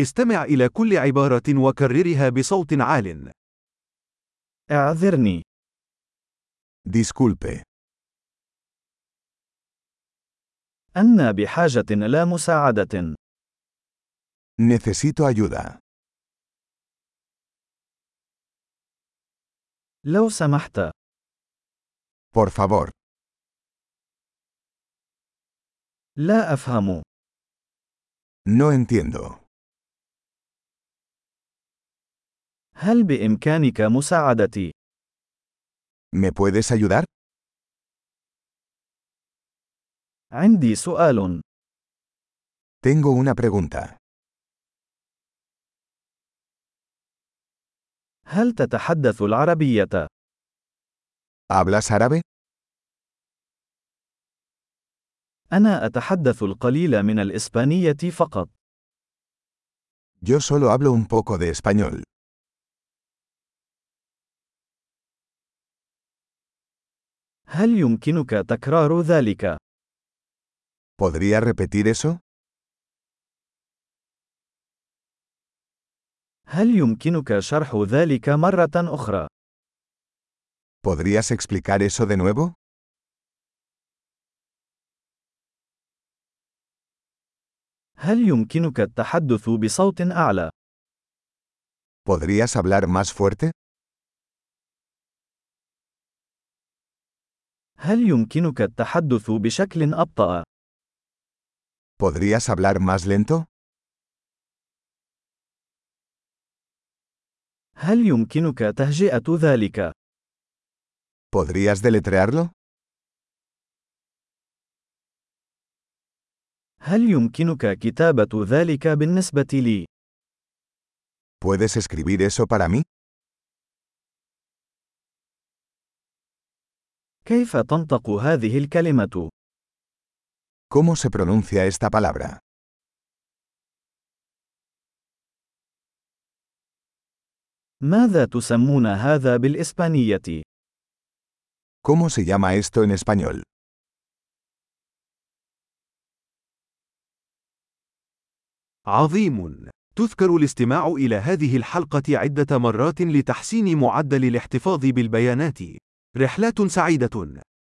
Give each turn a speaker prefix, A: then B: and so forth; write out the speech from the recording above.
A: استمع إلى كل عبارة وكررها بصوت عال.
B: اعذرني.
A: Disculpe.
B: أنا بحاجة إلى مساعدة.
A: Necesito ayuda.
B: لو سمحت،
A: Por favor.
B: لا أفهم.
A: No entiendo.
B: هل بإمكانك مساعدتي؟
A: ¿Me puedes ayudar?
B: عندي سؤال.
A: Tengo una pregunta.
B: هل تتحدث العربية؟
A: ¿Hablas árabe?
B: أنا أتحدث القليل من الإسبانية فقط.
A: Yo solo hablo un poco de español.
B: هل يمكنك تكرار ذلك؟
A: ¿Podría repetir eso?
B: هل يمكنك شرح ذلك مرة أخرى؟
A: ¿Podrías explicar eso de nuevo?
B: هل يمكنك التحدث بصوت أعلى؟
A: ¿Podrías hablar más fuerte?
B: هل يمكنك التحدث بشكل أبطأ؟
A: ¿Podrías hablar más lento?
B: هل يمكنك تهجئة ذلك؟
A: ¿Podrías deletrearlo?
B: هل يمكنك كتابة ذلك بالنسبة لي؟
A: ¿Puedes escribir eso para mí?
B: كيف تنطق هذه الكلمة؟
A: ¿Cómo se pronuncia esta palabra?
B: ماذا تسمون هذا بالإسبانية؟
A: ¿Cómo se llama esto en español? عظيم تذكر الاستماع الى هذه الحلقه عده مرات لتحسين معدل الاحتفاظ بالبيانات رحلات سعيده